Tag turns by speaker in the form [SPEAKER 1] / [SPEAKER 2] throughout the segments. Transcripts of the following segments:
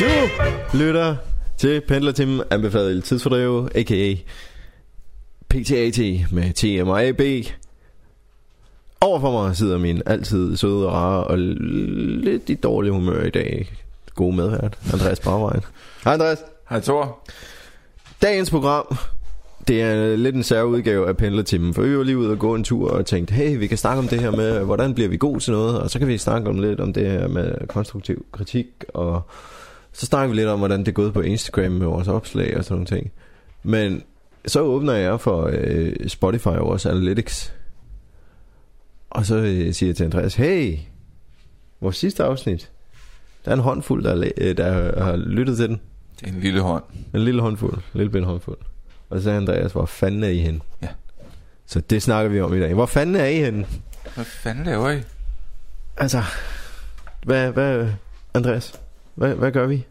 [SPEAKER 1] Du lytter til Pendlertimen anbefalet tidsfordrive, a.k.a. PTAT med TM og AB. Overfor mig sidder min altid søde, rare og l- lidt i dårlig humør i dag gode medvært, Andreas Barvejen. Hej Andreas.
[SPEAKER 2] Hej Thor.
[SPEAKER 1] Dagens program, det er lidt en særudgave af Pendlertimen, for vi var lige ude og gå en tur og tænkte, hey, vi kan snakke om det her med, hvordan bliver vi gode til noget, og så kan vi snakke om lidt om det her med konstruktiv kritik, og så snakker vi lidt om, hvordan det er gået på Instagram med vores opslag og sådan nogle ting. Men så åbner jeg for øh, Spotify og vores analytics, og så øh, siger jeg til Andreas, hey, vores sidste afsnit, der er en håndfuld, der, er læ- øh, der har lyttet til den.
[SPEAKER 2] Det er en lille hånd.
[SPEAKER 1] En lille håndfuld. En lille bind håndfuld. Og så sagde Andreas, hvor fanden er I henne?
[SPEAKER 2] Ja.
[SPEAKER 1] Så det snakker vi om i dag. Hvor fanden er I henne?
[SPEAKER 2] Hvad fanden laver I?
[SPEAKER 1] Altså, hvad, hvad, Andreas, hvad, hvad gør vi?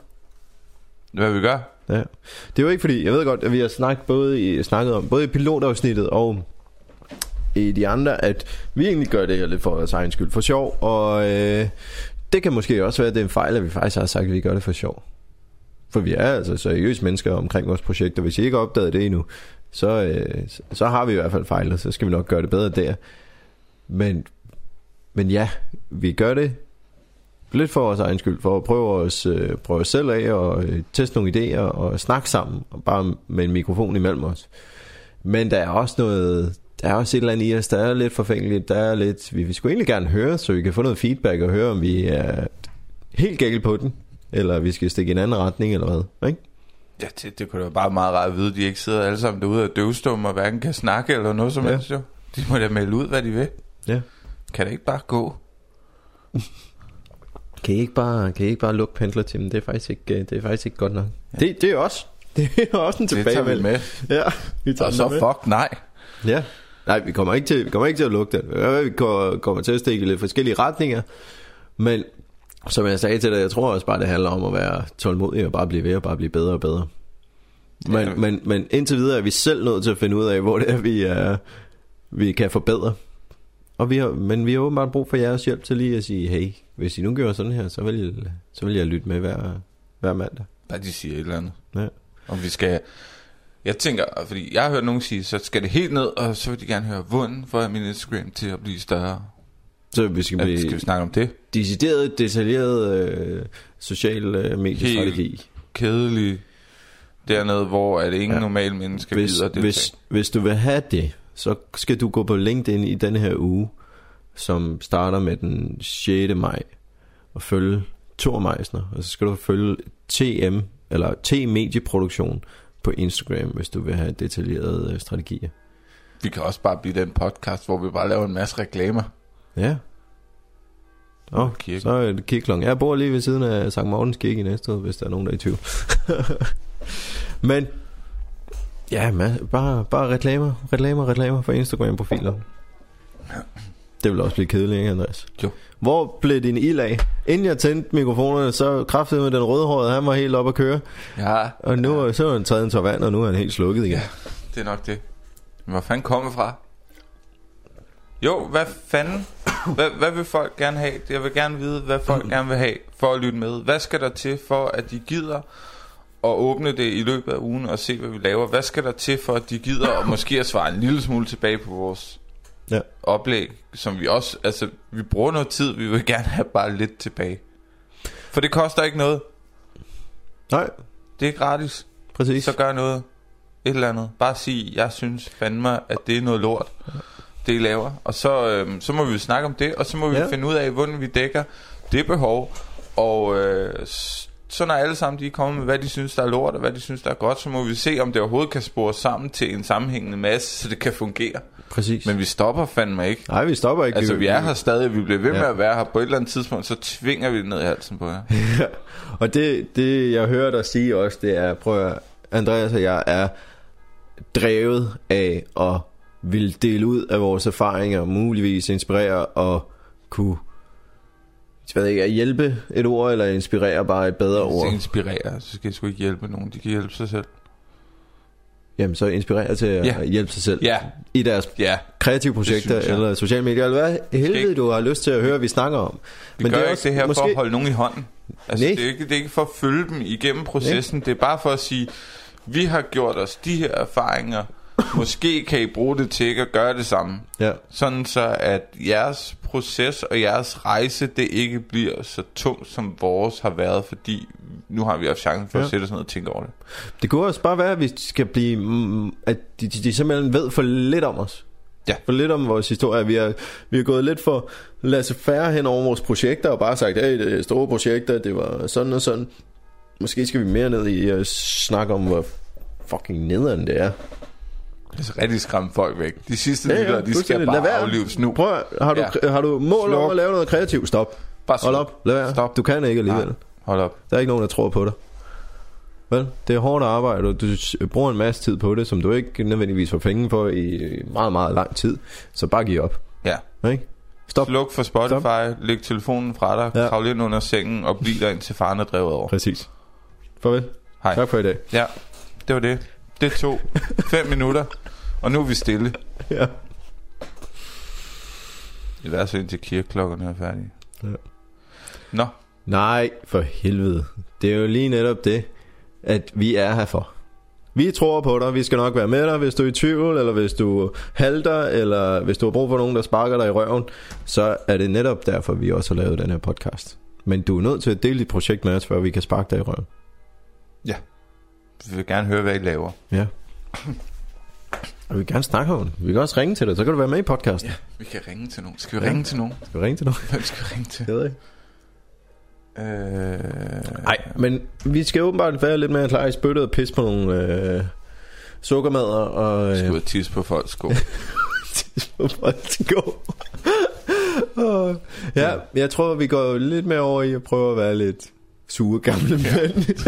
[SPEAKER 2] Hvad vi gør?
[SPEAKER 1] Ja. Det er jo ikke fordi, jeg ved godt, at vi har snakket, både i, snakket om, både i pilotafsnittet og i de andre, at vi egentlig gør det her lidt for vores egen skyld, for sjov, og øh, det kan måske også være, at det er en fejl, at vi faktisk har sagt, at vi gør det for sjov. For vi er altså seriøse mennesker omkring vores projekt, og hvis I ikke har opdaget det endnu, så, øh, så har vi i hvert fald fejlet, så skal vi nok gøre det bedre der. Men, men ja, vi gør det lidt for vores egen skyld, for at prøve os, øh, prøve os selv af og øh, teste nogle idéer og snakke sammen, og bare med en mikrofon imellem os. Men der er også noget, der er også et eller andet i os, der er lidt forfængeligt, der er lidt, vi, vi skulle egentlig gerne høre, så vi kan få noget feedback og høre, om vi er helt gæld på den, eller vi skal stikke i en anden retning, eller hvad, ikke?
[SPEAKER 2] Ja, det, det kunne da være bare meget rart at vide, at de ikke sidder alle sammen derude og døvstumme og hverken kan snakke eller noget som
[SPEAKER 1] Ja.
[SPEAKER 2] helst. Jo. De må da melde ud, hvad de vil.
[SPEAKER 1] Ja.
[SPEAKER 2] Kan det ikke bare gå?
[SPEAKER 1] Kan I ikke bare, kan I ikke bare lukke pendlertimen? Det er faktisk ikke, øh, det er faktisk ikke godt nok. Ja. Det, det er også, det er også en
[SPEAKER 2] Det tager vi
[SPEAKER 1] tilbagemelding.
[SPEAKER 2] med.
[SPEAKER 1] Ja, vi tager
[SPEAKER 2] Og
[SPEAKER 1] den
[SPEAKER 2] så
[SPEAKER 1] med.
[SPEAKER 2] fuck nej.
[SPEAKER 1] Ja. Nej, vi kommer ikke til, vi kommer ikke til at lukke den. Det kan være, Vi går- kommer til at stikke i lidt forskellige retninger. Men som jeg sagde til dig, jeg tror også bare, det handler om at være tålmodig og bare blive ved og bare blive bedre og bedre. Men,
[SPEAKER 2] Ja.
[SPEAKER 1] men, men indtil videre er vi selv nødt til at finde ud af, hvor det er, vi, er, vi kan forbedre. Og vi har, men vi har åbenbart brug for jeres hjælp til lige at sige, hey, hvis I nu gør sådan her, så vil, så vil jeg lytte med hver, hver mandag.
[SPEAKER 2] Bare de siger et eller andet.
[SPEAKER 1] Ja.
[SPEAKER 2] Om vi skal... Jeg tænker, fordi jeg har hørt nogen sige, så skal det helt ned, og så vil de gerne høre, hvordan får jeg min Instagram til at blive større?
[SPEAKER 1] Så vi skal
[SPEAKER 2] Ja,
[SPEAKER 1] blive
[SPEAKER 2] skal vi snakke om det?
[SPEAKER 1] decideret, detaljeret øh, social øh, mediestrategi.
[SPEAKER 2] Kedeligt. Dernede, hvor at ingen
[SPEAKER 1] Ja.
[SPEAKER 2] ja. normal menneske
[SPEAKER 1] hvis,
[SPEAKER 2] gider det.
[SPEAKER 1] hvis, hvis du vil have det, så skal du gå på LinkedIn i denne her uge, som starter med den 6. maj, og følge Thor Meisner, og så skal du følge TM, eller T-medieproduktion på Instagram, hvis du vil have detaljerede øh, strategier.
[SPEAKER 2] Vi kan også bare blive den podcast, hvor vi bare laver en masse reklamer.
[SPEAKER 1] Ja. Åh, oh,
[SPEAKER 2] Kirke.
[SPEAKER 1] så er det kirkeklong. Jeg bor lige ved siden af Sankt Morgens Kirke i Næstved, hvis der er nogen, der er i tvivl. Men, ja, man, bare, bare reklamer, reklamer, reklamer for Instagram-profiler. Det vil også blive kedeligt, ikke, Andreas?
[SPEAKER 2] Jo.
[SPEAKER 1] Hvor blev din ild af? Inden jeg tændte mikrofonerne, så kraftede med den rødhårede, han var helt op at køre.
[SPEAKER 2] Ja,
[SPEAKER 1] Og nu er- så er han taget en tår vand, og nu er han helt slukket igen.
[SPEAKER 2] Ja. det er nok det. Men hvor fanden kommer fra? Jo, hvad fanden? Hvad, hvad vil folk gerne have? Jeg vil gerne vide, hvad folk gerne vil have for at lytte med. Hvad skal der til for, at de gider at åbne det i løbet af ugen og se, hvad vi laver? Hvad skal der til for, at de gider og måske at svare en lille smule tilbage på vores
[SPEAKER 1] Ja.
[SPEAKER 2] oplæg, som vi også... Altså, vi bruger noget tid, vi vil gerne have bare lidt tilbage. For det koster ikke noget.
[SPEAKER 1] Nej,
[SPEAKER 2] Det er gratis.
[SPEAKER 1] præcis.
[SPEAKER 2] så gør noget. Et eller andet. Bare sig, jeg synes fandme, at det er noget lort, det I laver. Og så, øhm, så må vi jo snakke om det, og så må vi
[SPEAKER 1] Ja.
[SPEAKER 2] ja. finde ud af, hvordan vi dækker det behov. Og øh, s- så når alle sammen de kommer med, hvad de synes, der er lort, og hvad de synes, der er godt, så må vi se, om det overhovedet kan spores sammen til en sammenhængende masse, så det kan fungere.
[SPEAKER 1] Præcis.
[SPEAKER 2] Men vi stopper fandme ikke.
[SPEAKER 1] Nej, vi stopper ikke.
[SPEAKER 2] Altså, vi er her stadig, vi bliver ved
[SPEAKER 1] Ja.
[SPEAKER 2] med at være her på et eller andet tidspunkt, så tvinger vi det ned i halsen på jer.
[SPEAKER 1] Ja. Og det, det, jeg hører dig sige også, det er, prøv at, høre, Andreas og jeg er drevet af at vil dele ud af vores erfaringer, muligvis inspirere og kunne jeg ved ikke, hjælpe et ord, eller inspirere bare et bedre ord.
[SPEAKER 2] Så inspirere, så skal jeg sgu ikke hjælpe nogen, de kan hjælpe sig selv.
[SPEAKER 1] jamen, så inspirere til at
[SPEAKER 2] Ja.
[SPEAKER 1] hjælpe sig selv
[SPEAKER 2] Ja.
[SPEAKER 1] i deres
[SPEAKER 2] Ja,
[SPEAKER 1] kreative projekter
[SPEAKER 2] synes jeg.
[SPEAKER 1] eller sociale medier, eller hvad helvede
[SPEAKER 2] ikke-
[SPEAKER 1] du har lyst til at høre, vi snakker om.
[SPEAKER 2] vi Men gør det er ikke det her måske... for at
[SPEAKER 1] måske,
[SPEAKER 2] holde nogen i hånden. Altså,
[SPEAKER 1] Nej.
[SPEAKER 2] det, er ikke, det er ikke for at følge dem igennem processen, det er bare for at sige, vi har gjort os de her erfaringer, måske kan I bruge det til ikke at gøre det samme.
[SPEAKER 1] Ja,
[SPEAKER 2] Sådan så, at jeres proces og jeres rejse, det ikke bliver så tungt, som vores har været, fordi nu har vi haft chancen for ja.
[SPEAKER 1] Ja.
[SPEAKER 2] at sætte os ned og tænke over det.
[SPEAKER 1] det kunne også bare være, at vi skal blive, mm, at de, de, de simpelthen ved for lidt om os.
[SPEAKER 2] Ja.
[SPEAKER 1] For lidt om vores historie. Vi har, vi har gået lidt for lasse færre hen over vores projekter og bare sagt, hey, det er store projekter, det var sådan og sådan. Måske skal vi mere ned i at snakke om, hvor fucking nederen det er.
[SPEAKER 2] Altså rigtig skræmme folk væk. De sidste
[SPEAKER 1] Ja,
[SPEAKER 2] ja,
[SPEAKER 1] ja,
[SPEAKER 2] lyttere, de skal
[SPEAKER 1] fuldstændig. Lad
[SPEAKER 2] bare
[SPEAKER 1] være.
[SPEAKER 2] aflives nu.
[SPEAKER 1] Prøv, at- har du, ja. har du mål om
[SPEAKER 2] Sluk.
[SPEAKER 1] at lave noget kreativt? Stop.
[SPEAKER 2] Bare
[SPEAKER 1] Hold op, lad være.
[SPEAKER 2] Stop.
[SPEAKER 1] Du kan ikke alligevel.
[SPEAKER 2] Nej. Hold op.
[SPEAKER 1] Der er ikke nogen, der tror på dig. Vel, det er hårdt arbejde, og du s- bruger en masse tid på det, som du ikke nødvendigvis får penge for i meget, meget lang tid. Så bare giv op.
[SPEAKER 2] Ja.
[SPEAKER 1] Ikke? Stop.
[SPEAKER 2] Sluk for Spotify, Stop. læg telefonen fra dig,
[SPEAKER 1] Ja.
[SPEAKER 2] ja. kravl ind under sengen og bliv der indtil faren er drevet over.
[SPEAKER 1] Præcis. Farvel.
[SPEAKER 2] Hej.
[SPEAKER 1] Tak for i dag.
[SPEAKER 2] Ja, det var det. Det tog fem minutter, og nu er vi stille.
[SPEAKER 1] Ja.
[SPEAKER 2] I hvert fald indtil kirkeklokkerne er færdige.
[SPEAKER 1] Ja.
[SPEAKER 2] Nå,
[SPEAKER 1] Nej, for helvede. Det er jo lige netop det, at vi er her for. Vi tror på dig, vi skal nok være med dig, hvis du er i tvivl, eller hvis du halter, eller hvis du har brug for nogen, der sparker dig i røven, så er det netop derfor, vi også har lavet den her podcast. Men du er nødt til at dele dit projekt med os, før vi kan sparke dig i røven.
[SPEAKER 2] vi vil gerne høre, hvad I laver.
[SPEAKER 1] Ja. Og vi vil gerne snakke om det. Vi kan også ringe til dig, så kan du være med i podcasten.
[SPEAKER 2] Vi kan ringe til nogen. Skal vi
[SPEAKER 1] Ja.
[SPEAKER 2] ringe til nogen?
[SPEAKER 1] Skal vi ringe til dig?
[SPEAKER 2] Hvem skal vi ringe til?
[SPEAKER 1] Jeg ved ikke.
[SPEAKER 2] Øh,
[SPEAKER 1] Nej, men vi skal åbenbart være lidt mere klar i spyttet og pisse på nogle øh, sukkermader og...
[SPEAKER 2] Jeg
[SPEAKER 1] Øh,
[SPEAKER 2] skal ud og tisse på folks sko.
[SPEAKER 1] på Bolsgård. Åh, ja, jeg tror, vi går lidt mere over i at prøve at være lidt sure gamle mænd.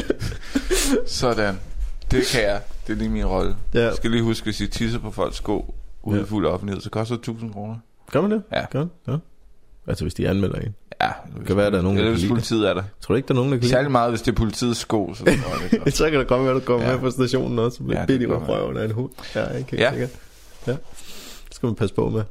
[SPEAKER 2] Sådan. Det kan jeg. Det er lige min rolle.
[SPEAKER 1] Ja.
[SPEAKER 2] Jeg skal lige huske, hvis I tisser på folks sko ude
[SPEAKER 1] Ja.
[SPEAKER 2] i fuld offentlighed, så koster det 1000 kroner.
[SPEAKER 1] Gør man det?
[SPEAKER 2] Ja.
[SPEAKER 1] Gør man? ja. Altså, hvis de anmelder en.
[SPEAKER 2] Ja,
[SPEAKER 1] Det kan være, der er nogen, der
[SPEAKER 2] Eller
[SPEAKER 1] kan
[SPEAKER 2] hvis
[SPEAKER 1] lide det.
[SPEAKER 2] politiet er der.
[SPEAKER 1] Tror du ikke, der er nogen, der kan lide
[SPEAKER 2] Særlig meget, hvis det er politiets sko. Så tror jeg, det er
[SPEAKER 1] det?
[SPEAKER 2] godt.
[SPEAKER 1] Så kan det komme, at du kommer
[SPEAKER 2] Ja.
[SPEAKER 1] med på stationen også, og bliver ja,
[SPEAKER 2] Ja, det
[SPEAKER 1] bidt i
[SPEAKER 2] kan godt være.
[SPEAKER 1] røven af en hund. Ja, jeg kan
[SPEAKER 2] Ja.
[SPEAKER 1] ja. ja. Det skal man passe på med.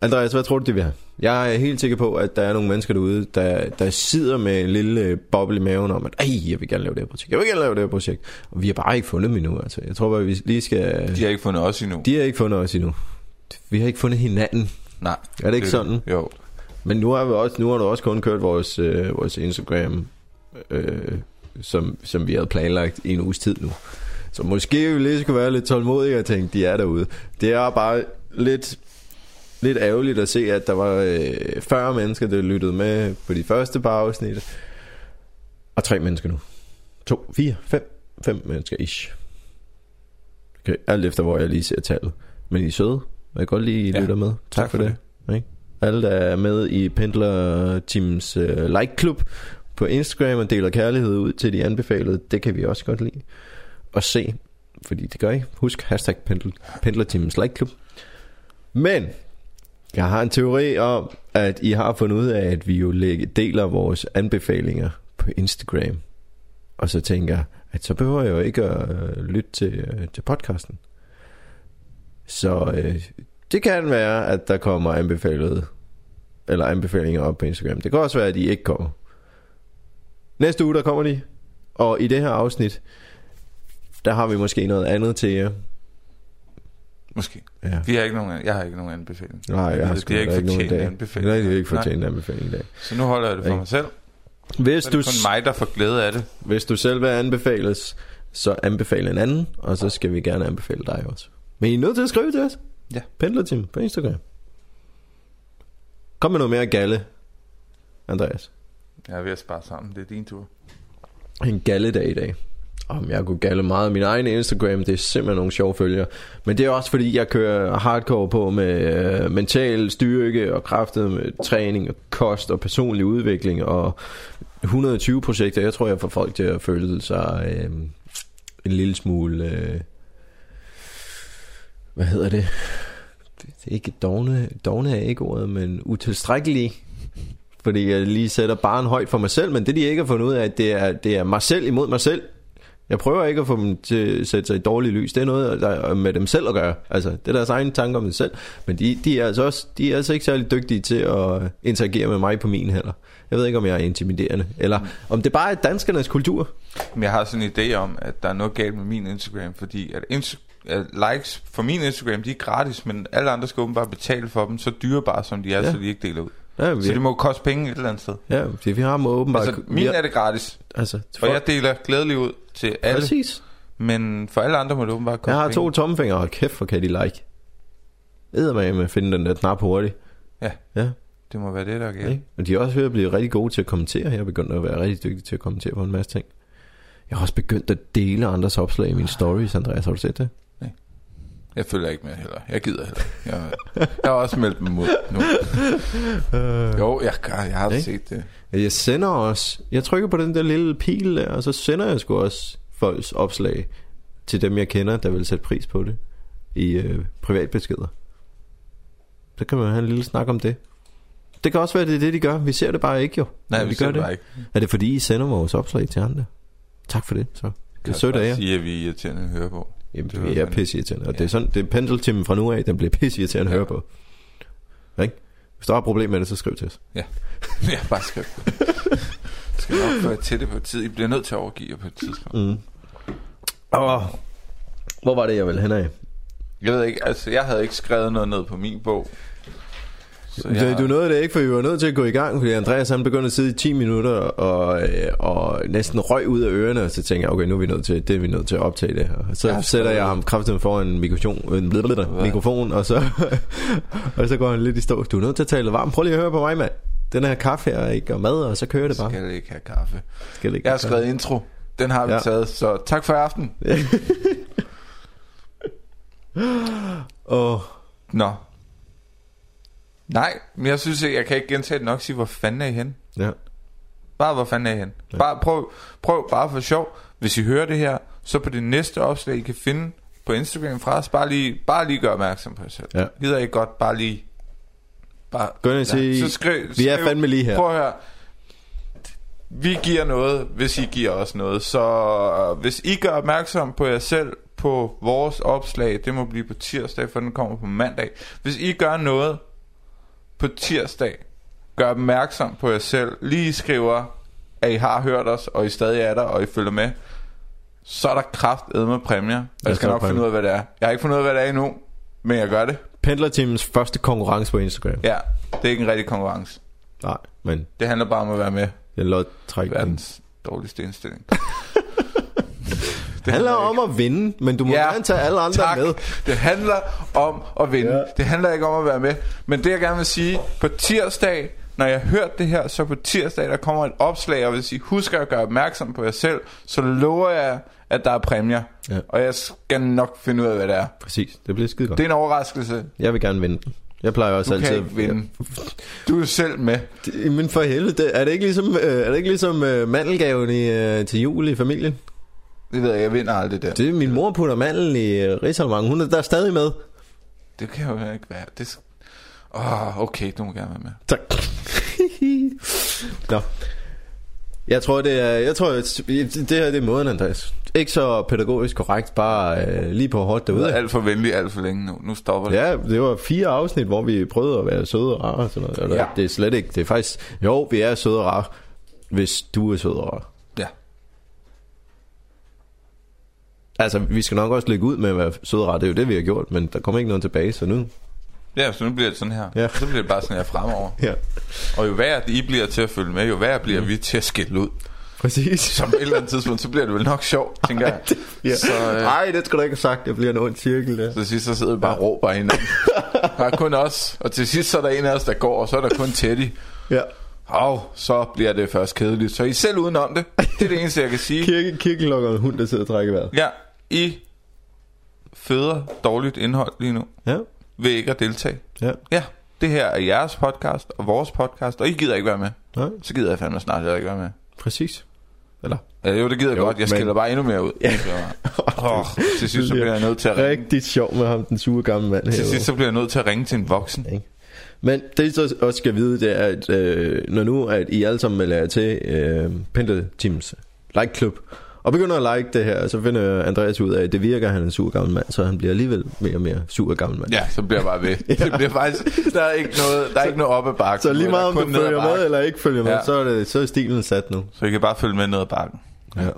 [SPEAKER 1] Andreas, hvad tror du, det vil have? Jeg er helt sikker på, at der er nogle mennesker derude, der, der sidder med en lille øh, boble i maven om, at Ej, jeg vil gerne lave det her projekt, jeg vil gerne lave det her projekt. Og vi har bare ikke fundet dem endnu, altså. Jeg tror bare, vi lige skal...
[SPEAKER 2] De har ikke fundet os endnu.
[SPEAKER 1] De har ikke fundet os endnu. Vi har ikke fundet hinanden.
[SPEAKER 2] Nej.
[SPEAKER 1] Er det ikke sådan?
[SPEAKER 2] Jo.
[SPEAKER 1] Men nu har, vi også, nu har du også kun kørt vores, øh, vores Instagram, øh, som, som vi havde planlagt i en uges tid nu. Så måske vi lige skulle være lidt tålmodige og tænke, de er derude. Det er bare lidt, lidt ærgerligt at se, at der var øh, 40 mennesker, der lyttede med på de første par afsnit. Og tre mennesker nu. To, fire, fem. Fem mennesker ish. Okay, alt efter, hvor jeg lige ser tallet. Men I er søde. Jeg kan godt lige
[SPEAKER 2] Ja,
[SPEAKER 1] ja. lytter med. Tak, tak for, for det. Alle, der er med i Pendler Teams øh, Like Club på Instagram og deler kærlighed ud til de anbefalede, det kan vi også godt lide at se, fordi det gør I. Husk hashtag Pendler, Pendler Teams Like Club. Men jeg har en teori om, at I har fundet ud af, at vi jo lægge- deler vores anbefalinger på Instagram. Og så tænker jeg, at så behøver jeg jo ikke at øh, lytte til, øh, til podcasten. Så øh, det kan være, at der kommer anbefalede eller anbefalinger op på Instagram. Det kan også være, at de ikke kommer. Næste uge, der kommer de. Og i det her afsnit, der har vi måske noget andet til jer.
[SPEAKER 2] Måske.
[SPEAKER 1] Ja.
[SPEAKER 2] Vi har ikke nogen, jeg har ikke nogen anbefaling.
[SPEAKER 1] Nej, jeg har
[SPEAKER 2] Det
[SPEAKER 1] sgu
[SPEAKER 2] er
[SPEAKER 1] da
[SPEAKER 2] ikke
[SPEAKER 1] ikke nogen i
[SPEAKER 2] fortjent
[SPEAKER 1] dag.
[SPEAKER 2] anbefaling.
[SPEAKER 1] Nej, det er ikke
[SPEAKER 2] Nej.
[SPEAKER 1] fortjent en anbefaling i dag.
[SPEAKER 2] Så nu holder jeg det for
[SPEAKER 1] Ikke?
[SPEAKER 2] mig selv.
[SPEAKER 1] Hvis
[SPEAKER 2] Så er
[SPEAKER 1] du,
[SPEAKER 2] det kun mig, der får glæde af det.
[SPEAKER 1] hvis du selv vil anbefales, så anbefale en anden, og så skal vi gerne anbefale dig også. Men I er nødt til at skrive til os.
[SPEAKER 2] Ja.
[SPEAKER 1] Pendlerteam på Instagram. Kom med noget mere galle, Andreas.
[SPEAKER 2] Jeg er ved at spare sammen. Det er din tur.
[SPEAKER 1] en galledag i dag. Om jeg kunne galle meget. Min egen Instagram, det er simpelthen nogle sjove følger. Men det er også fordi, jeg kører hardcore på med øh, mental styrke og kræftet med træning og kost og personlig udvikling og 120 projekter. Jeg tror, jeg får folk til at føle sig øh, en lille smule... Øh, hvad hedder det? Det er ikke dogne, dogne er ikke ordet, men utilstrækkelige. Fordi jeg lige sætter barn højt for mig selv, men det de ikke har fundet ud af, det er, det er mig selv imod mig selv. Jeg prøver ikke at få dem til at sætte sig i dårligt lys. Det er noget der er med dem selv at gøre. Altså, det er deres egen tanker om dem selv. Men de, de, er altså også, de er altså ikke særlig dygtige til at interagere med mig på min heller. Jeg ved ikke, om jeg er intimiderende. Eller om det bare er danskernes kultur.
[SPEAKER 2] Men jeg har sådan en idé om, at der er noget galt med min Instagram, fordi at, Inst- at likes for min Instagram, de er gratis, men alle andre skal åbenbart betale for dem, så dyrebare som de er,
[SPEAKER 1] Ja.
[SPEAKER 2] ja. så de ikke deler ud.
[SPEAKER 1] Ja, vi,
[SPEAKER 2] Så det må jo koste penge et eller andet sted.
[SPEAKER 1] ja, fordi vi har dem åbenbart...
[SPEAKER 2] Altså,
[SPEAKER 1] vi
[SPEAKER 2] min
[SPEAKER 1] har,
[SPEAKER 2] er det gratis,
[SPEAKER 1] altså,
[SPEAKER 2] og jeg deler glædeligt ud til alle,
[SPEAKER 1] Præcis.
[SPEAKER 2] men for alle andre må det åbenbart koste
[SPEAKER 1] Jeg har
[SPEAKER 2] penge.
[SPEAKER 1] to tommefingre, og kæft, hvor kan de like. Eddermame med at finde den der knap hurtigt.
[SPEAKER 2] Ja.
[SPEAKER 1] Ja,
[SPEAKER 2] Det må være det, der er galt.
[SPEAKER 1] ikke? Og de er også ved at blive rigtig gode til at kommentere. Jeg er begyndt at være rigtig dygtig til at kommentere på en masse ting. Jeg har også begyndt at dele andres opslag i mine stories, Andreas. Har du set det?
[SPEAKER 2] Jeg følger ikke med heller. Jeg gider heller. ikke. Jeg, jeg har også meldt mig mod nu. Jo, jeg, gør. jeg har
[SPEAKER 1] Øh. Ikke?
[SPEAKER 2] set det.
[SPEAKER 1] Jeg sender også... Jeg trykker på den der lille pil der, og så sender jeg sgu også folks opslag til dem, jeg kender, der vil sætte pris på det i øh, privatbeskeder. Så kan man have en lille snak om det. Det kan også være, det er det, de gør. Vi ser det bare ikke jo.
[SPEAKER 2] Nej,
[SPEAKER 1] Men
[SPEAKER 2] vi, vi gør det bare ikke.
[SPEAKER 1] Er det fordi, I sender vores opslag til andre? Tak for det, så. Det er sødt af
[SPEAKER 2] bare
[SPEAKER 1] jer.
[SPEAKER 2] sige, at vi er irriterende at høre på.
[SPEAKER 1] Jamen,
[SPEAKER 2] det
[SPEAKER 1] vi
[SPEAKER 2] var
[SPEAKER 1] er
[SPEAKER 2] fandme-
[SPEAKER 1] pisseirriterende. Og det
[SPEAKER 2] Ja.
[SPEAKER 1] er sådan, det er pendeltimen fra nu af, den bliver pisseirriterende at
[SPEAKER 2] Ja.
[SPEAKER 1] høre på. Ikke? Hvis der er et problem med det, så skriv til os.
[SPEAKER 2] jeg har bare skrevet det. Jeg skal nok få jer til det på et tid. I bliver nødt til at overgive jer på et tidspunkt.
[SPEAKER 1] Mm. Og, hvor var det, jeg ville hen af?
[SPEAKER 2] Jeg ved ikke, altså jeg havde ikke skrevet noget ned på min bog. Så
[SPEAKER 1] Ja. Du nåede det ikke, for vi var nødt til at gå i gang, fordi Andreas han begyndte at sidde i 10 minutter og, øh, og næsten røg ud af ørerne, og så tænkte jeg, okay, nu er vi nødt til, det er vi nødt til at optage det her. Og Så
[SPEAKER 2] Ja,
[SPEAKER 1] ja, sætter jeg ham kraftigt foran en mikrofon, en blablabla, mikrofon og, så, og så går han lidt i stå. Du er nødt til at tale varmt. Prøv lige at høre på mig, mand. Den her kaffe her, ikke? Og mad, og så kører det bare.
[SPEAKER 2] skal ikke have kaffe.
[SPEAKER 1] Skal det ikke
[SPEAKER 2] Jeg har
[SPEAKER 1] være?
[SPEAKER 2] skrevet intro. Den har vi
[SPEAKER 1] Ja.
[SPEAKER 2] ja. taget, så tak for i aften.
[SPEAKER 1] Åh,
[SPEAKER 2] Nå. Nej, men jeg synes ikke, jeg kan ikke gentage det nok sige, hvor fanden er I henne?
[SPEAKER 1] ja.
[SPEAKER 2] Bare hvor fanden er I henne? Bare prøv, prøv bare for sjov. Hvis I hører det her, så på det næste opslag, I kan finde på Instagram fra os, bare lige, bare lige gør opmærksom på jer selv.
[SPEAKER 1] Ja.
[SPEAKER 2] Gider I godt, bare lige... Bare,
[SPEAKER 1] Gå ind og sige,
[SPEAKER 2] så skriv,
[SPEAKER 1] vi er
[SPEAKER 2] skriv-
[SPEAKER 1] fandme lige her.
[SPEAKER 2] Prøv at høre. Vi giver noget, hvis I giver os noget. Så øh, hvis I gør opmærksom på jer selv på vores opslag, det må blive på tirsdag, for den kommer på mandag. Hvis I gør noget på tirsdag, gør opmærksom på jer selv, lige skriver, at I har hørt os, og I stadig er der, og I følger med, så er der kraft med præmier. Og
[SPEAKER 1] Der
[SPEAKER 2] jeg skal
[SPEAKER 1] står
[SPEAKER 2] nok finde
[SPEAKER 1] præmier.
[SPEAKER 2] ud af, hvad det er. Jeg har ikke fundet ud af, hvad det er endnu, men jeg gør det.
[SPEAKER 1] Pendlerteamens første konkurrence på Instagram.
[SPEAKER 2] Ja, det er ikke en rigtig konkurrence.
[SPEAKER 1] Nej, men
[SPEAKER 2] Det handler bare om at være med.
[SPEAKER 1] den lod træk.
[SPEAKER 2] Verdens dårligste indstilling.
[SPEAKER 1] Det handler om at vinde, men du må
[SPEAKER 2] Ja,
[SPEAKER 1] gerne tage alle andre
[SPEAKER 2] Tak.
[SPEAKER 1] med.
[SPEAKER 2] Det handler om at vinde.
[SPEAKER 1] Ja.
[SPEAKER 2] Ja. Det handler ikke om at være med. Men det jeg gerne vil sige, på tirsdag, når jeg hørte det her, så på tirsdag, der kommer et opslag, og hvis I husker at gøre opmærksom på jer selv, så lover jeg, at der er præmier.
[SPEAKER 1] Ja.
[SPEAKER 2] Ja. Og jeg skal nok finde ud af, hvad det er.
[SPEAKER 1] Præcis, det bliver skide godt.
[SPEAKER 2] Det er en overraskelse.
[SPEAKER 1] Jeg vil gerne vinde den. Jeg plejer også
[SPEAKER 2] Du
[SPEAKER 1] altid
[SPEAKER 2] kan ikke vinde. Du er selv med.
[SPEAKER 1] Ja, men for helvede, det- er det ikke ligesom, øh, er det ikke ligesom øh, mandelgaven i, øh, til jul i familien?
[SPEAKER 2] Det ved jeg, jeg vinder aldrig der. Det,
[SPEAKER 1] Det er min mor putter mandel i øh, Rigsholmangen. Hun er der stadig med.
[SPEAKER 2] det kan jo ikke være. Det... skal- Åh, oh, okay, du må gerne være med.
[SPEAKER 1] Tak. Nå. Jeg tror, det er, jeg tror, at det her det er måden, Andreas. Ikke så pædagogisk korrekt, bare øh, lige på hårdt
[SPEAKER 2] Du er
[SPEAKER 1] derude.
[SPEAKER 2] alt for venlig, alt for længe nu. Nu stopper det.
[SPEAKER 1] Ja, det var fire afsnit, hvor vi prøvede at være søde og rare og sådan noget. Eller,
[SPEAKER 2] Ja.
[SPEAKER 1] Det er slet ikke, det er faktisk, jo, vi er søde og rare, hvis du er sød og rar.
[SPEAKER 2] Ja.
[SPEAKER 1] Altså, vi skal nok også lægge ud med at være søde og rare. Det er jo det, vi har gjort, men der kommer ikke noget tilbage, så nu...
[SPEAKER 2] Ja, så nu bliver det sådan her.
[SPEAKER 1] Ja.
[SPEAKER 2] Ja. Så bliver det bare sådan her fremover.
[SPEAKER 1] Ja,
[SPEAKER 2] Og jo værre I bliver til at følge med, jo værre
[SPEAKER 1] Mm.
[SPEAKER 2] bliver vi til at skille ud.
[SPEAKER 1] præcis.
[SPEAKER 2] Som på et eller andet tidspunkt, så bliver det vel nok sjovt, tænker jeg.
[SPEAKER 1] Ja.
[SPEAKER 2] Så, øh,
[SPEAKER 1] Ej, det skulle du ikke have sagt. Det bliver en ond cirkel, der.
[SPEAKER 2] Så til sidst, så sidder vi bare og råber af hinanden. Der er kun os, og til sidst så er der en af os, der går, og så er der kun Teddy.
[SPEAKER 1] Ja.
[SPEAKER 2] Og så bliver det først kedeligt. Så I er selv udenom det. Det er det eneste, jeg kan sige.
[SPEAKER 1] Kirke, kirkelokker og en hund, der sidder og trækker vejret.
[SPEAKER 2] Ja, I føder dårligt indhold lige nu
[SPEAKER 1] Ja,
[SPEAKER 2] ved ikke at deltage.
[SPEAKER 1] ja.
[SPEAKER 2] Ja, det her er jeres podcast og vores podcast, og I gider ikke være med.
[SPEAKER 1] Nej,
[SPEAKER 2] Så gider jeg fandme snart heller ikke være med.
[SPEAKER 1] præcis. Eller?
[SPEAKER 2] Ja, jo, det gider jeg
[SPEAKER 1] Jo,
[SPEAKER 2] godt. Jeg
[SPEAKER 1] men-
[SPEAKER 2] skiller bare endnu mere ud. Ja. Oh, til sidst så bliver jeg nødt til at ringe.
[SPEAKER 1] Rigtig sjov med ham, den sure gamle mand
[SPEAKER 2] Til sidst
[SPEAKER 1] herovre.
[SPEAKER 2] så bliver jeg nødt til at ringe til en voksen.
[SPEAKER 1] Men det, I så også skal vide, det er, at øh, når nu at I alle sammen melder jer til øh, Pendlet Teams Like Club, Og begynder at like det her, og så finder Andreas ud af, at det virker, at han er en sur gammel mand, så han bliver alligevel mere og mere sur gammel mand.
[SPEAKER 2] Ja, så bliver jeg bare ved. Det bliver faktisk, der er ikke noget, der er ikke noget op ad bakken.
[SPEAKER 1] Så lige meget om
[SPEAKER 2] Der er
[SPEAKER 1] du
[SPEAKER 2] kun ned ad
[SPEAKER 1] følger med
[SPEAKER 2] bakken.
[SPEAKER 1] eller ikke følger med,
[SPEAKER 2] Ja.
[SPEAKER 1] så, er det, så er stilen sat nu.
[SPEAKER 2] Så I kan bare følge med ned ad bakken.
[SPEAKER 1] Ja.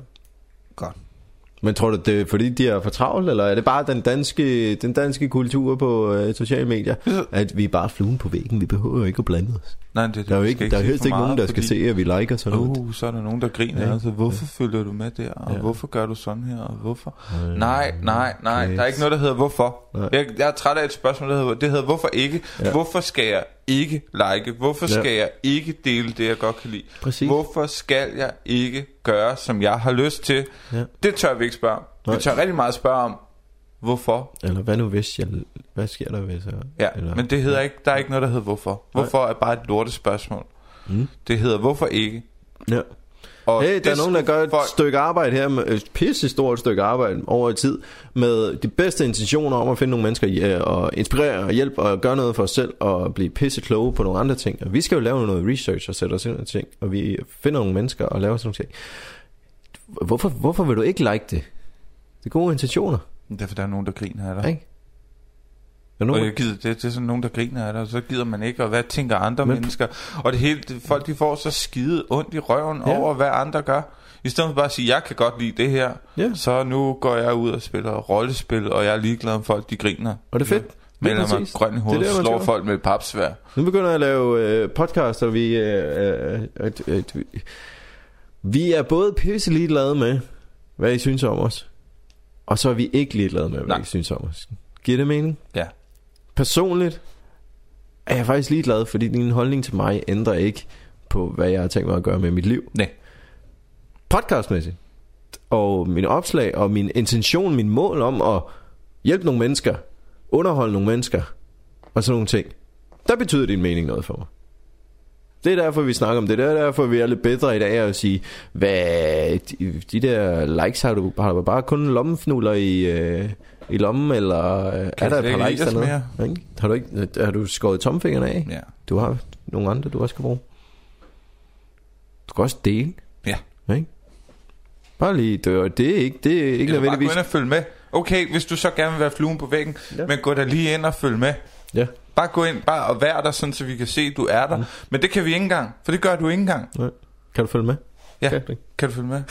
[SPEAKER 2] Godt.
[SPEAKER 1] Men tror du, det er fordi, de er for travlt, eller er det bare den danske, den danske kultur på øh, sociale medier, at vi er bare fluen på væggen, vi behøver ikke at blande os?
[SPEAKER 2] Nej, det, det
[SPEAKER 1] Der er jo
[SPEAKER 2] Vi skal
[SPEAKER 1] ikke, der er
[SPEAKER 2] sige
[SPEAKER 1] helst
[SPEAKER 2] for
[SPEAKER 1] ikke nogen,
[SPEAKER 2] meget,
[SPEAKER 1] der skal
[SPEAKER 2] fordi-
[SPEAKER 1] se, at vi liker sådan noget.
[SPEAKER 2] Uh, så er der nogen, der griner.
[SPEAKER 1] Ja.
[SPEAKER 2] Ja. Altså, hvorfor ja. følger du med der? Og
[SPEAKER 1] Ja.
[SPEAKER 2] ja. hvorfor gør du sådan her? Og hvorfor? Nej, nej, nej.
[SPEAKER 1] yes.
[SPEAKER 2] Der er ikke noget, der hedder hvorfor.
[SPEAKER 1] Nej.
[SPEAKER 2] Jeg, jeg er træt af et spørgsmål, der hedder, det hedder hvorfor ikke?
[SPEAKER 1] Ja.
[SPEAKER 2] Ja. Hvorfor skal jeg ikke like? Hvorfor
[SPEAKER 1] Ja.
[SPEAKER 2] skal jeg ikke dele det, jeg godt kan lide?
[SPEAKER 1] Præcis.
[SPEAKER 2] Hvorfor skal jeg ikke gøre, som jeg har lyst til?
[SPEAKER 1] Ja.
[SPEAKER 2] Det tør vi ikke spørge om.
[SPEAKER 1] Nej.
[SPEAKER 2] Vi tør rigtig meget spørge om, hvorfor?
[SPEAKER 1] Eller hvad nu hvis jeg... Hvad sker der hvis jeg...
[SPEAKER 2] Ja,
[SPEAKER 1] eller,
[SPEAKER 2] men det hedder ikke, der er ikke noget, der hedder hvorfor. Hvorfor er bare et lortespørgsmål.
[SPEAKER 1] Mm.
[SPEAKER 2] Det hedder hvorfor ikke?
[SPEAKER 1] Ja.
[SPEAKER 2] Og
[SPEAKER 1] Hey,
[SPEAKER 2] det
[SPEAKER 1] der er nogen, der gør et
[SPEAKER 2] folk-
[SPEAKER 1] stykke arbejde her, med, et pisse stort stykke arbejde over tid, med de bedste intentioner om at finde nogle mennesker ja, og inspirere og hjælpe og gøre noget for os selv og blive pisse kloge på nogle andre ting. Og vi skal jo lave noget research og sætte os ind i nogle ting, og vi finder nogle mennesker og laver sådan nogle ting. Hvorfor, hvorfor vil du ikke like det? Det er gode intentioner,
[SPEAKER 2] Derfor der er nogen, der griner af dig.
[SPEAKER 1] ja. ikke? Er der
[SPEAKER 2] Og
[SPEAKER 1] nogen,
[SPEAKER 2] jeg gider, det, det er sådan nogen, der griner af dig, og så gider man ikke, og hvad tænker andre
[SPEAKER 1] Men-
[SPEAKER 2] Men... mennesker? Og det hele, det, folk de får så skide ondt i røven
[SPEAKER 1] Ja.
[SPEAKER 2] ja. over, hvad andre gør. I stedet for bare at sige, jeg kan godt lide det her,
[SPEAKER 1] Ja.
[SPEAKER 2] så nu går jeg ud og spiller rollespil, og jeg er ligeglad om folk, de griner.
[SPEAKER 1] og det er fedt. Det er
[SPEAKER 2] Melder mig
[SPEAKER 1] præcis.
[SPEAKER 2] grøn i
[SPEAKER 1] Det er
[SPEAKER 2] hovedet,
[SPEAKER 1] det, man
[SPEAKER 2] slår
[SPEAKER 1] gør.
[SPEAKER 2] folk med et papsvær.
[SPEAKER 1] Nu begynder jeg at lave øh, podcast, og vi, øh, øh, at, at, vi- vi er både pisse ligeglade med, hvad I synes om os, og så er vi ikke ligeglade med, hvad
[SPEAKER 2] Nej.
[SPEAKER 1] I synes om os. Giver det mening?
[SPEAKER 2] Ja.
[SPEAKER 1] Personligt er jeg faktisk ligeglad, fordi din holdning til mig ændrer ikke på, hvad jeg har tænkt mig at gøre med mit liv.
[SPEAKER 2] Nej.
[SPEAKER 1] Podcastmæssigt. Og min opslag, og min intention, min mål om at hjælpe nogle mennesker, underholde nogle mennesker, og sådan nogle ting der betyder din mening noget for mig. Det er derfor, vi snakker om det. Det er derfor, vi er lidt bedre i dag at sige, hvad de, de der likes har du, har du bare kun lommefnuller i, øh, i lommen, eller øh, er
[SPEAKER 2] Kan
[SPEAKER 1] der
[SPEAKER 2] det
[SPEAKER 1] et
[SPEAKER 2] ikke
[SPEAKER 1] par likes
[SPEAKER 2] lide os
[SPEAKER 1] dernede? Ikke? Har du, ikke, har du skåret tomfingrene af?
[SPEAKER 2] Ja.
[SPEAKER 1] Du har nogle andre, du også kan bruge. Du kan også dele.
[SPEAKER 2] Ja.
[SPEAKER 1] Ikke? Bare lige, det er, det er ikke, det er ikke
[SPEAKER 2] Eller bare gå
[SPEAKER 1] nødvendigvis...
[SPEAKER 2] ind og følge med. Okay, hvis du så gerne vil være fluen på væggen,
[SPEAKER 1] Ja.
[SPEAKER 2] ja. men gå da lige ind og følg med.
[SPEAKER 1] Ja.
[SPEAKER 2] Bare gå ind bare og vær der, sådan, så vi kan se, at du er der. Mm. Men det kan vi ikke engang, for det gør du ikke engang.
[SPEAKER 1] Nej. Kan du følge med?
[SPEAKER 2] Ja.
[SPEAKER 1] Kan du ikke?
[SPEAKER 2] Kan du følge med?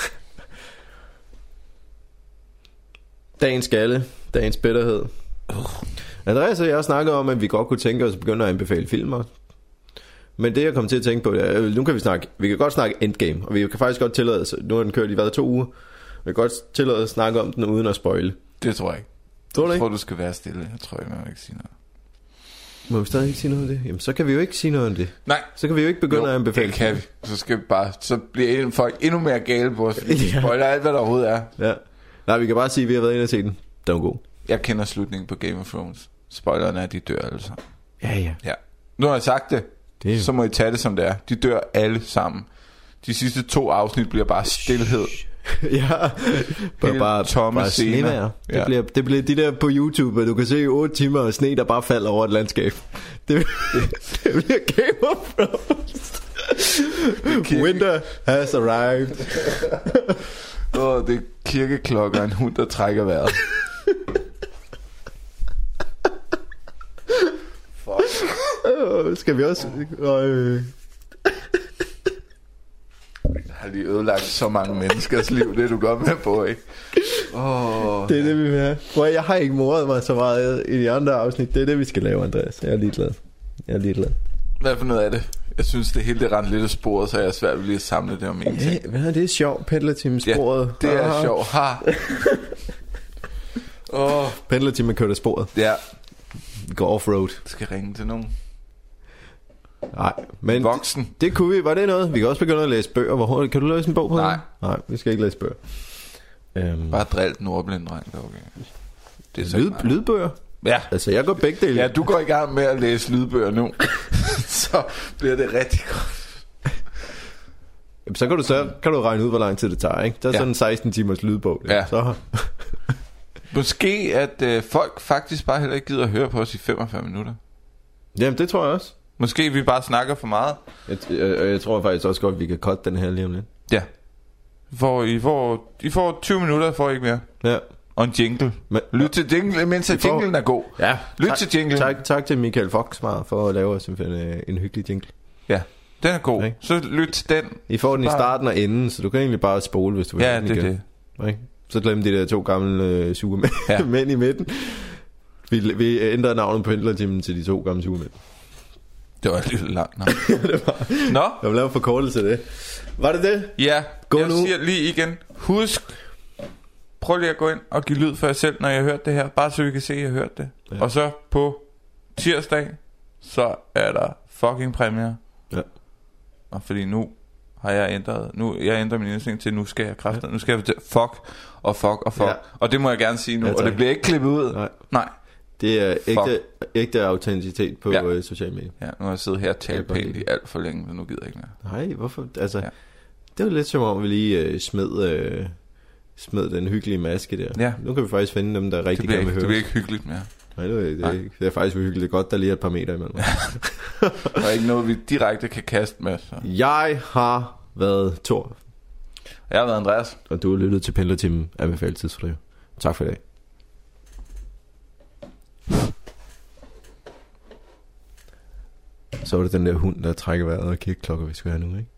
[SPEAKER 1] Dagens skalle, dagens bitterhed. Andreas og jeg snakkede om, at vi godt kunne tænke os at begynde at anbefale film også. Men det jeg kom til at tænke på, det er, øh, nu kan vi snakke, vi kan godt snakke Endgame, og vi kan faktisk godt tillade os, nu har den kørt i hvad, to uger, vi kan godt tillade os at snakke om den uden at spoile.
[SPEAKER 2] Det tror jeg ikke.
[SPEAKER 1] Tror du
[SPEAKER 2] Jeg
[SPEAKER 1] ikke?
[SPEAKER 2] tror, du skal være stille. Jeg tror ikke, man må ikke sige noget.
[SPEAKER 1] Må vi stadig ikke sige noget om det? Jamen, så kan vi jo ikke sige noget om det.
[SPEAKER 2] Nej,
[SPEAKER 1] Så kan vi jo ikke begynde
[SPEAKER 2] jo,
[SPEAKER 1] at anbefale.
[SPEAKER 2] det kan vi. Så skal vi bare, så bliver en- folk endnu mere gale på os, fordi de
[SPEAKER 1] Ja.
[SPEAKER 2] spoiler alt, hvad der overhovedet er.
[SPEAKER 1] Ja. Nej, vi kan bare sige, at vi har været inde og se den. Den var god.
[SPEAKER 2] Jeg kender slutningen på Game of Thrones. Spoilerne er, at de dør alle sammen.
[SPEAKER 1] Ja, ja.
[SPEAKER 2] Ja. Nu har jeg sagt det,
[SPEAKER 1] Det er-
[SPEAKER 2] det. så må I tage det, som det er. De dør alle sammen. De sidste to afsnit bliver bare stillhed.
[SPEAKER 1] ja, bare,
[SPEAKER 2] Helt
[SPEAKER 1] bare,
[SPEAKER 2] tomme
[SPEAKER 1] bare
[SPEAKER 2] scener.
[SPEAKER 1] snevejr. Det,
[SPEAKER 2] Ja.
[SPEAKER 1] bliver, det bliver de der på YouTube, hvor du kan se 8 timer af sne, der bare falder over et landskab. Det, det bliver Game of Thrones.
[SPEAKER 2] kan-
[SPEAKER 1] Winter has arrived.
[SPEAKER 2] Åh, det er kirkeklokker og en hund, der trækker vejret. Fuck.
[SPEAKER 1] Øh, Skal vi også... Øh,
[SPEAKER 2] Jeg har lige ødelagt så mange menneskers liv, det er du godt med på, ikke? Åh,
[SPEAKER 1] det er det, vi vil have. Prøv, at, jeg har ikke moret mig så meget i de andre afsnit. Det er det, vi skal lave, Andreas. Jeg er ligeglad. Jeg er ligeglad.
[SPEAKER 2] Hvad for noget af det? Jeg synes, det hele det rendte lidt af sporet, så jeg er svært ved lige at samle det om en ting.
[SPEAKER 1] Hey, hvad er det sjovt? Pendlertimesporet.
[SPEAKER 2] det er
[SPEAKER 1] Ah.
[SPEAKER 2] sjovt. Ha. Åh, oh,
[SPEAKER 1] Pendlertimen kørte af sporet.
[SPEAKER 2] ja.
[SPEAKER 1] Vi går off-road.
[SPEAKER 2] Jeg skal ringe til nogen.
[SPEAKER 1] Nej, men...
[SPEAKER 2] Voksen.
[SPEAKER 1] Det kunne vi. Var det noget? Vi kan også begynde at læse bøger. Hvor hurtigt? Kan du læse en bog på
[SPEAKER 2] Nej.
[SPEAKER 1] den? Nej, vi skal ikke læse bøger. Øhm,
[SPEAKER 2] Bare drilt den ordblinde dreng, der er okay. Det er så
[SPEAKER 1] lyd,
[SPEAKER 2] ikke mig.
[SPEAKER 1] lydbøger?
[SPEAKER 2] Ja.
[SPEAKER 1] Altså, jeg går begge dele.
[SPEAKER 2] ja, du går i gang med at læse lydbøger nu. så bliver det rigtig godt.
[SPEAKER 1] Jamen, Så kan du, så kan du regne ud, hvor lang tid det tager, ikke? Der er
[SPEAKER 2] Ja.
[SPEAKER 1] sådan en 16 timers lydbog. det.
[SPEAKER 2] Ja.
[SPEAKER 1] Så,
[SPEAKER 2] Måske at øh, folk faktisk bare heller ikke gider at høre på os i 45 minutter.
[SPEAKER 1] jamen, det tror jeg også.
[SPEAKER 2] Måske vi bare snakker for meget.
[SPEAKER 1] Jeg, jeg, jeg tror faktisk også godt, vi kan cutte den her lige om lidt.
[SPEAKER 2] Ja. For I, får, I får 20 minutter, får I ikke mere.
[SPEAKER 1] Ja.
[SPEAKER 2] Og en jingle.
[SPEAKER 1] Men,
[SPEAKER 2] Lyt til jingle, mens at
[SPEAKER 1] får-
[SPEAKER 2] jinglen er god.
[SPEAKER 1] ja.
[SPEAKER 2] Lyt
[SPEAKER 1] tak,
[SPEAKER 2] til jinglen.
[SPEAKER 1] tak, tak til Michael Foxmar for at lave os en, en, en hyggelig jingle.
[SPEAKER 2] Den er god.
[SPEAKER 1] Ikke?
[SPEAKER 2] Så lyt til den.
[SPEAKER 1] I får den i
[SPEAKER 2] Bare-
[SPEAKER 1] starten og enden, så du kan egentlig bare spole, hvis du vil.
[SPEAKER 2] Ja,
[SPEAKER 1] have den
[SPEAKER 2] det er
[SPEAKER 1] igen.
[SPEAKER 2] det.
[SPEAKER 1] Ikke? Så glem de der to gamle øh, sugemænd
[SPEAKER 2] Ja.
[SPEAKER 1] ja. mænd i midten. Vi, vi ændrede navnet på Pendlertimen til de to gamle sugemænd.
[SPEAKER 2] Det var lidt langt. Nå. Nå,
[SPEAKER 1] Jeg vil lave en forkortelse af det. Var det det?
[SPEAKER 2] ja.
[SPEAKER 1] Gå
[SPEAKER 2] jeg
[SPEAKER 1] nu.
[SPEAKER 2] siger lige igen. Husk, prøv lige at gå ind og give lyd for jer selv, når jeg hørte det her. Bare så vi kan se, at jeg hørte det. Ja.
[SPEAKER 1] Ja.
[SPEAKER 2] Og så på tirsdag, så er der fucking premiere.
[SPEAKER 1] Ja.
[SPEAKER 2] Og fordi nu har jeg ændret, nu, jeg ændrer min indstilling til, nu skal jeg kræfter, nu skal jeg fortælle, fuck og fuck og fuck. Ja.
[SPEAKER 1] Ja.
[SPEAKER 2] Og det må jeg gerne sige nu,
[SPEAKER 1] Ja,
[SPEAKER 2] ja, og det
[SPEAKER 1] tak.
[SPEAKER 2] bliver ikke klippet ud.
[SPEAKER 1] Nej.
[SPEAKER 2] Nej.
[SPEAKER 1] Det er ægte, ægte autenticitet på
[SPEAKER 2] Ja.
[SPEAKER 1] ja. øh, sociale medier.
[SPEAKER 2] Ja, nu har jeg siddet her og talt
[SPEAKER 1] Jeg kan godt
[SPEAKER 2] pænt i
[SPEAKER 1] lide
[SPEAKER 2] alt for længe, så nu gider jeg ikke mere.
[SPEAKER 1] Nej, hvorfor? Altså,
[SPEAKER 2] Ja.
[SPEAKER 1] ja. det var lidt som om, vi lige øh, smed, øh, smed den hyggelige maske der.
[SPEAKER 2] Ja.
[SPEAKER 1] Nu kan vi faktisk finde dem, der
[SPEAKER 2] Det
[SPEAKER 1] rigtig
[SPEAKER 2] bliver,
[SPEAKER 1] gerne
[SPEAKER 2] ikke,
[SPEAKER 1] vil
[SPEAKER 2] det
[SPEAKER 1] høre.
[SPEAKER 2] bliver
[SPEAKER 1] os.
[SPEAKER 2] ikke hyggeligt mere.
[SPEAKER 1] Nej, det, er, det, er,
[SPEAKER 2] Nej.
[SPEAKER 1] ikke- det er faktisk uhyggeligt. Det er godt, der lige er et par meter imellem.
[SPEAKER 2] Der er ikke noget, vi direkte kan kaste med. Så.
[SPEAKER 1] Jeg har været Thor,
[SPEAKER 2] Jeg har været Andreas.
[SPEAKER 1] og du har lyttet til Pendlertimen af Mefald Tidsfordriv. Tak for i dag. Så var det den der hund, der trækker vejret og kigger klokker, vi skulle have nu, ikke?